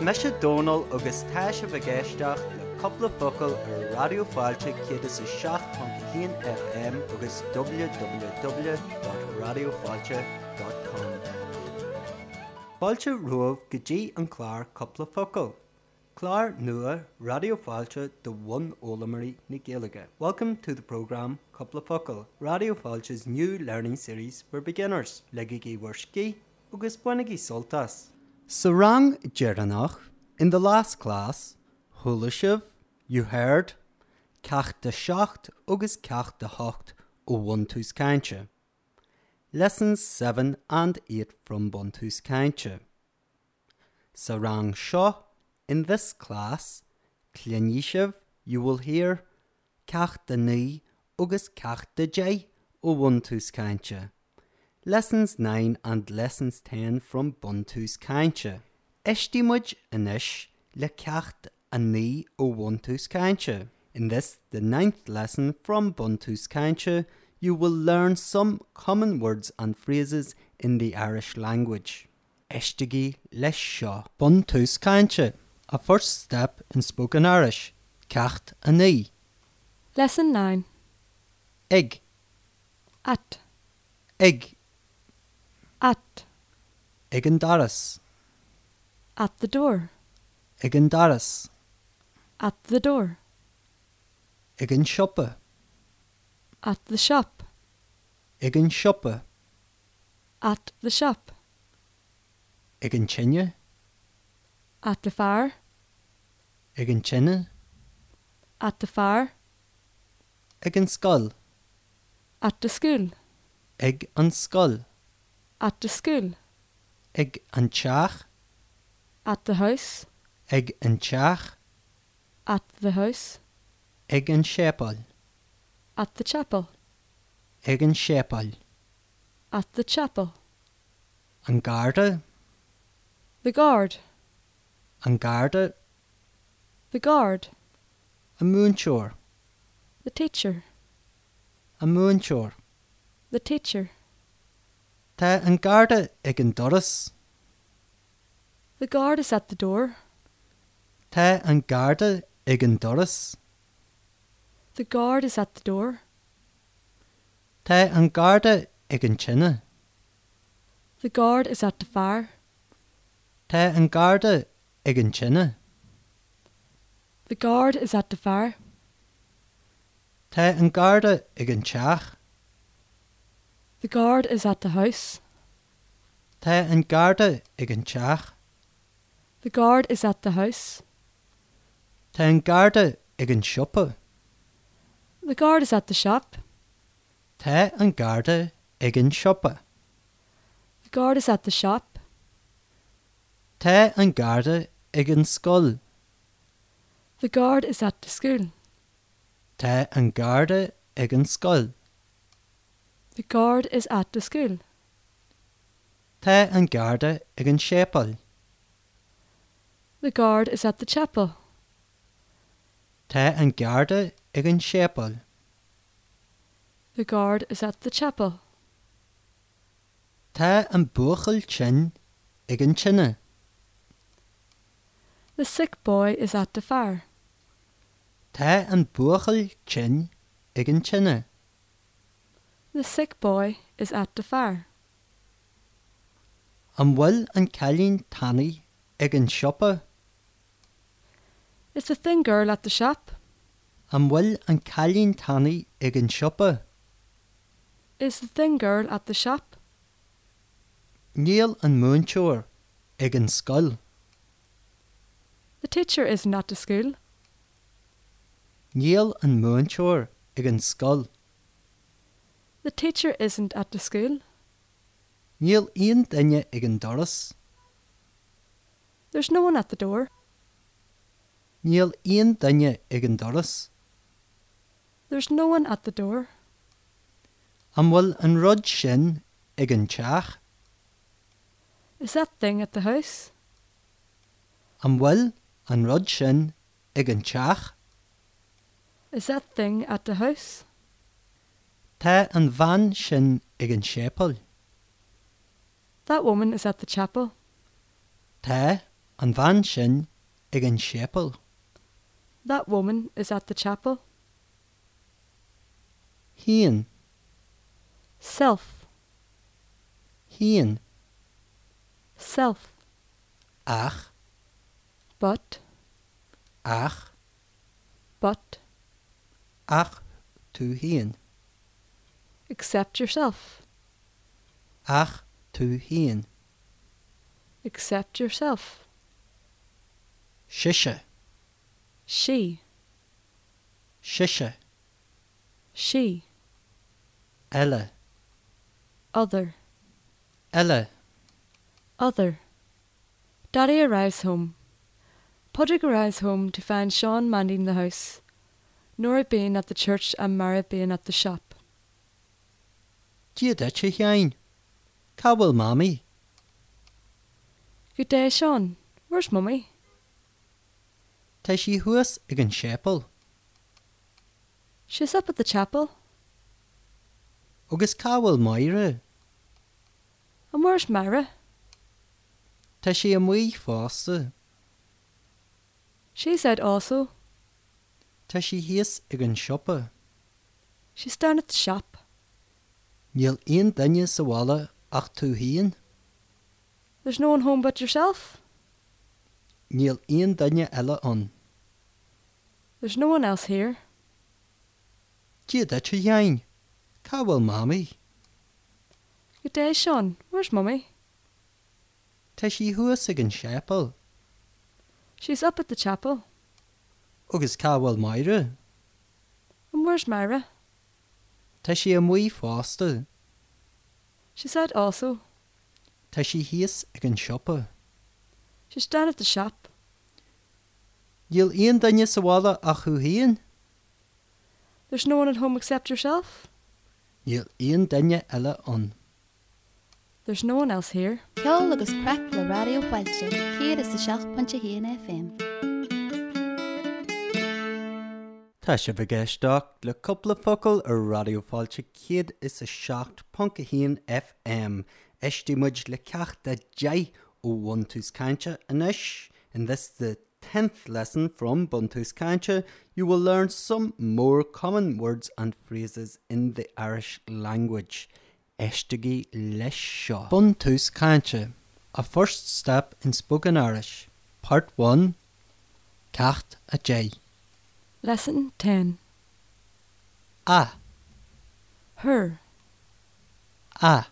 Me se dóal agus táis a bhgéisteach le coppla focail ar radioáilte chéad is 6.1 FM agus www.radioáilte.com. Fáilte ruamh go dtí an chláir coppla focail. Chlár nua radioáilte do one Olamarí na Gaelige. Welcome to the program Couplela Focal, Radioáilte's new learning series for beginners, legaí bhharcí agus bunaí soltas. So rang Jeranach, in the last class, Hulashiv, you heard, ceach de secht agus ceach de hocht ó bhaús caiinte. Lessons 7 and 8 from Bontús caiinte. Sa rang seo, in this class, Clinishiv, you will hear ceach de ní agus ceach de dé ó bhaús caiinte. Lessons 9 and Lessons 10 from Buntu's Kaintje. Ishtimuj anish le kacht ani o Buntu's Kaintje. In this, the ninth lesson from Buntu's Kaintje, you will learn some common words and phrases in the Irish language. Ishtigi lesha Buntu's Kaintje. A first step in spoken Irish. Kacht ani. Lesson 9. Egg. At. Egg. At. Egandaris. At the door. Egandaris. At the door. Egan shopper. At the shop. Egan shopper. At the shop. Ag an tsinne At the fire. ag an tsinne At the fire. ag an scoil At the school. ag an scoil At the school. ag an teach At the house. ag an teach At the house. ag an sepáil At the chapel. ag an sepáil At the chapel. an garda The guard. an garda The guard. a múnseir The teacher. a múnseir The teacher. Tá an garda ag an doras The guard is at the door. Tá an garda ag an doras The guard is at the door. Tá an garda ag an tsinne The guard is at the fire. Tá an garda ag an tsinne The guard is at the fire. Tá an garda ag an teach The guard is at the house. Tá an garda ag an teach The guard is at the house. Tá an garda ag an siopa The guard is at the shop. Tá an garda ag an siopa. The guard is at the shop. Tá an garda ag an scoil. The guard is at the school. Tá an garda ag an scoil. The guard is at the school. Tá an garda ag an sepal. The guard is at the chapel. Tá an garda ag an sepal. The guard is at the chapel. Tá an buchail sin ag an tsinne. The sick boy is at the fire. Tá an buchail sin ag an tsinne. The sick boy is at the fire. An bhfuil an celín tannaí ag an siopa. Is the thin girl at the shop? An bhfuil an celín tannaí ag an siopa. Is the thin girl at the shop? Níl an múnseir ag an scoil. The teacher isn't at the school. Níl an múnseir ag an scoil. The teacher isn't at the school. Níl íon daine ag an doras, There's no one at the door. Níl íon daine ag an doras, There's no one at the door. an bhfuil an rud sin ag an teach, Is that thing at the house? an bhfuil an rud sin ag an teach, Is that thing at the house? tá an bhain sin ag an sépal, That woman is at the chapel. Tá an bhain sin ag an sépal. That woman is at the chapel. Hían, Self, hían, self, ach, but, ach, but, ach tú hían, accept yourself, ach tú hían, accept yourself. siise, She, siise, she, eile, other, eile, other. Daddy arrives home. Podrick arrives home to find Sean minding the house, Nora being at the church and Mara being at the shop. diad éte cheáin, Cabhfuil mami, Good day, Sean. Where's Mummy? Tá sí thuas ag an sépal, She's up at the chapel. agus cabhfuil maire, And where's Mara? Tá sé an mí fásta, She's out also. Tá sí hías ag an siopa, She's down at the shop. Níl on daine sa bhla ach tú hían, There's no one home but yourself. níl on daine eile an, There's no one else here. diad éte cheáin, Cabhfuil mami, Good day, Sean. Where's Mummy? Tá sí thuas ag an sépal, She's up at the chapel. agus cabhfuil maire, And where's Myra? Tá sé an mí fásta, She's out also. Tá sí hías ag an siopa, She's down at the shop. Níl on daine sa bhla a chu hían, There's no one at home except yourself. níl on daine eile an. There's no one else here. Ceol agus prec le radiohailte, chéad is sa seach pontse híana FM. Tá sé bhgéisteach le coppla focail ar radioáilte céad is a seach pontca híon FM. Istí muid le ceach de de ó bhaús caiinte inis, and this is the 10th lesson from Buntus Kancha, you will learn some more common words and phrases in the Irish language. Eshtagi Lesha. Buntus Kancha, a first step in spoken Irish. Part 1 Cacht a J. Lesson 10. Ah. Her, a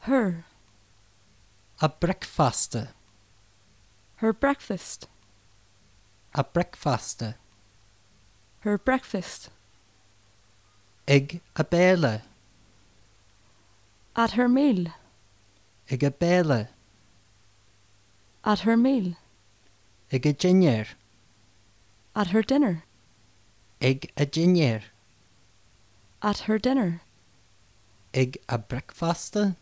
her, a breakfaster her breakfast, a breakfaster her breakfast, ig a bele at her meal, ig a bele at her meal, ig a ginger at her dinner, ig a ginger at her dinner, ig a breakfaster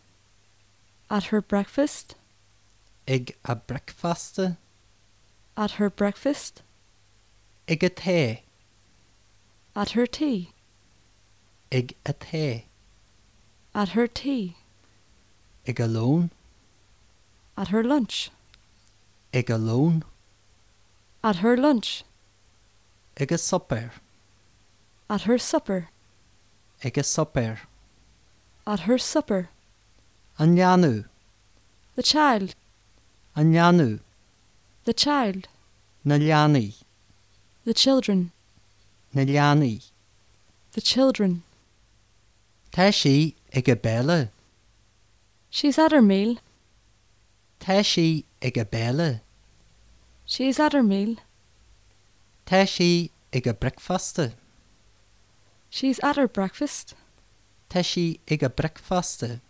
at her breakfast, ig a breakfaster at her breakfast, ig a te at her tea, ig a te at her tea, ig a loan at her lunch, ig a loan at her lunch, ig a supper at her supper, ig a supper at her supper, an janu the child, an janu the child, na jani the children, na jani the children. tashi ig a bele She's at her meal, tashi ig a bele she's at her meal, tashi ig a breakfaster she's at her breakfast, Tá sí ag a breicfasta,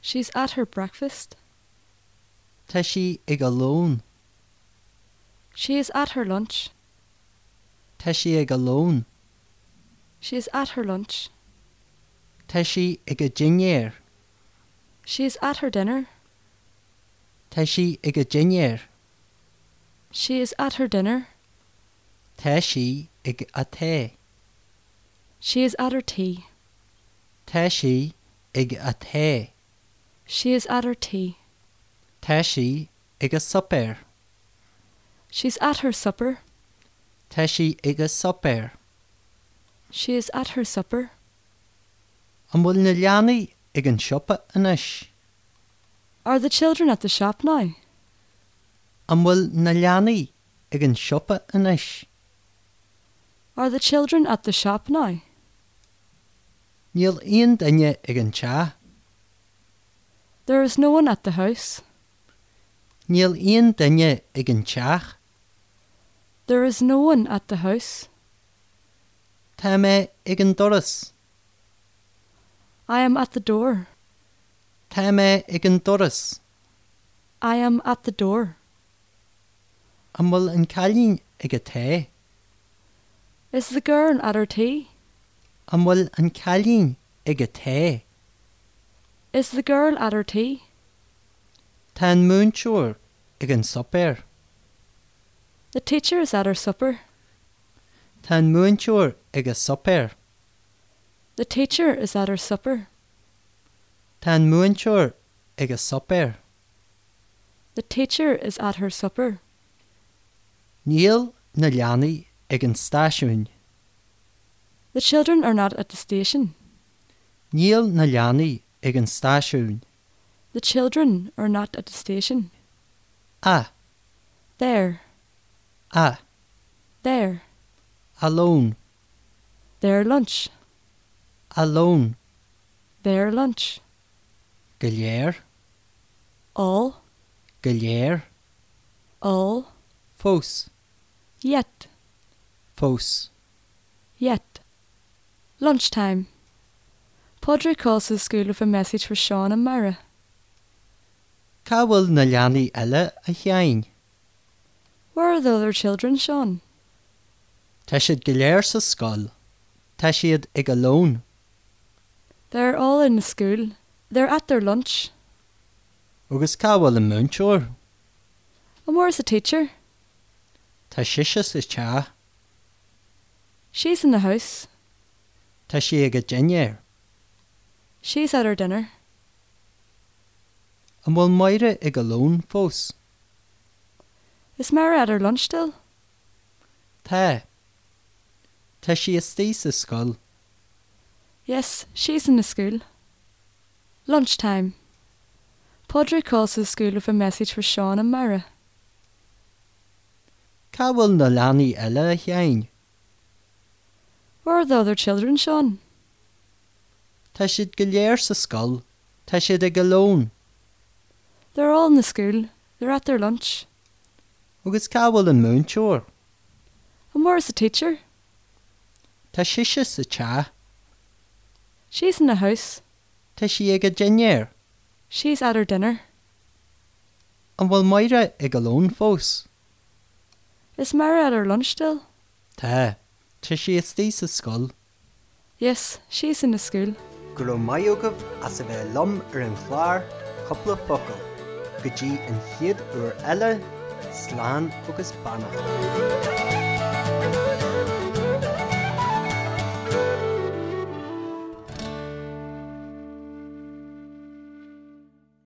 she's at her breakfast, Tá sí ag a lón, she is at her lunch, Tá sí ag a lón, she is at her lunch, Tá sí ag a dinéir, she is at her dinner, Tá sí ag a dinéir, she is at her dinner, Tá sí ag a té, she is at her tea, Tá sí ag a té, she is at her tea, Tá sí agus sapéir. She's at her supper. Tá sí agus sapéir. She is at her supper. An bhfuil na leanaí ag an siopa inis. Are the children at the shop now? An bhfuil na leanaí ag an siopa inis. Are the children at the shop now? Níl aon daine ag an te, There is no one at the house. Níl aon daine ag an teach, There is no one at the house. Tá mé ag an doras, I am at the door. Tá mé ag an doras, I am at the door. an bhfuil an cailín ag a té, Is the girl at her tea? an bhfuil an cailín ag a té, Is the girl at her tea? Tá an múnseúr ag an sapéir, The teacher is at her supper. Tá an múnseúr ag a sapéir, The teacher is at her supper. Tá an múnseúr ag a sapéir. The teacher is at her supper. Níl na leanaí ag an stáisiún, The children are not at the station. Níl na leanaí ag an stáisiún, The children are not at the station. a There, a there, alón, their lunch, alón their lunch. go léir, All, go léir, all, fós, yet, fós. yet. Lunchtime. Padre calls his school with a message for Sean and Mara. Cá bhfuil na leanaí eile a cheáin, Where are the other children, Sean? Tá siad go léir sa scoil, Tá siad ag alón, They're all in the school. They're at their lunch. agus cá bhfuil an múnseúr, And where's the teacher? Tá siise sa te, She's in the house. Tá si ag a dénéir, She's at her dinner. an bhfuil maire ag alón fós, Is Mara at her lunch still? Tá. Tá si is tí sa scoil, Yes, she's in the school. Lunchtime. Padre calls his school with a message for Sean and Mara. Cá bhfuil na leanaí eile a cheáin, Where are the other children, Sean? Tá siad go léir sa scoil, Tá siad ag alón, They're all in the school. They're at their lunch. agus cá bhfuil an múnseúr, And where's the teacher? Tá siise sa te, She's in the house. Tá si ag a dénéir, She's at her dinner. an bhfuil maire ag alón fós. Is Mara at her lunch still? Tá, Tá si is tí sa scoil. Yes, she's in the school. Gro maiogah as a bheith lom ar an chláir coppla focail, gotí an chiad uair eile, sláán agus banach.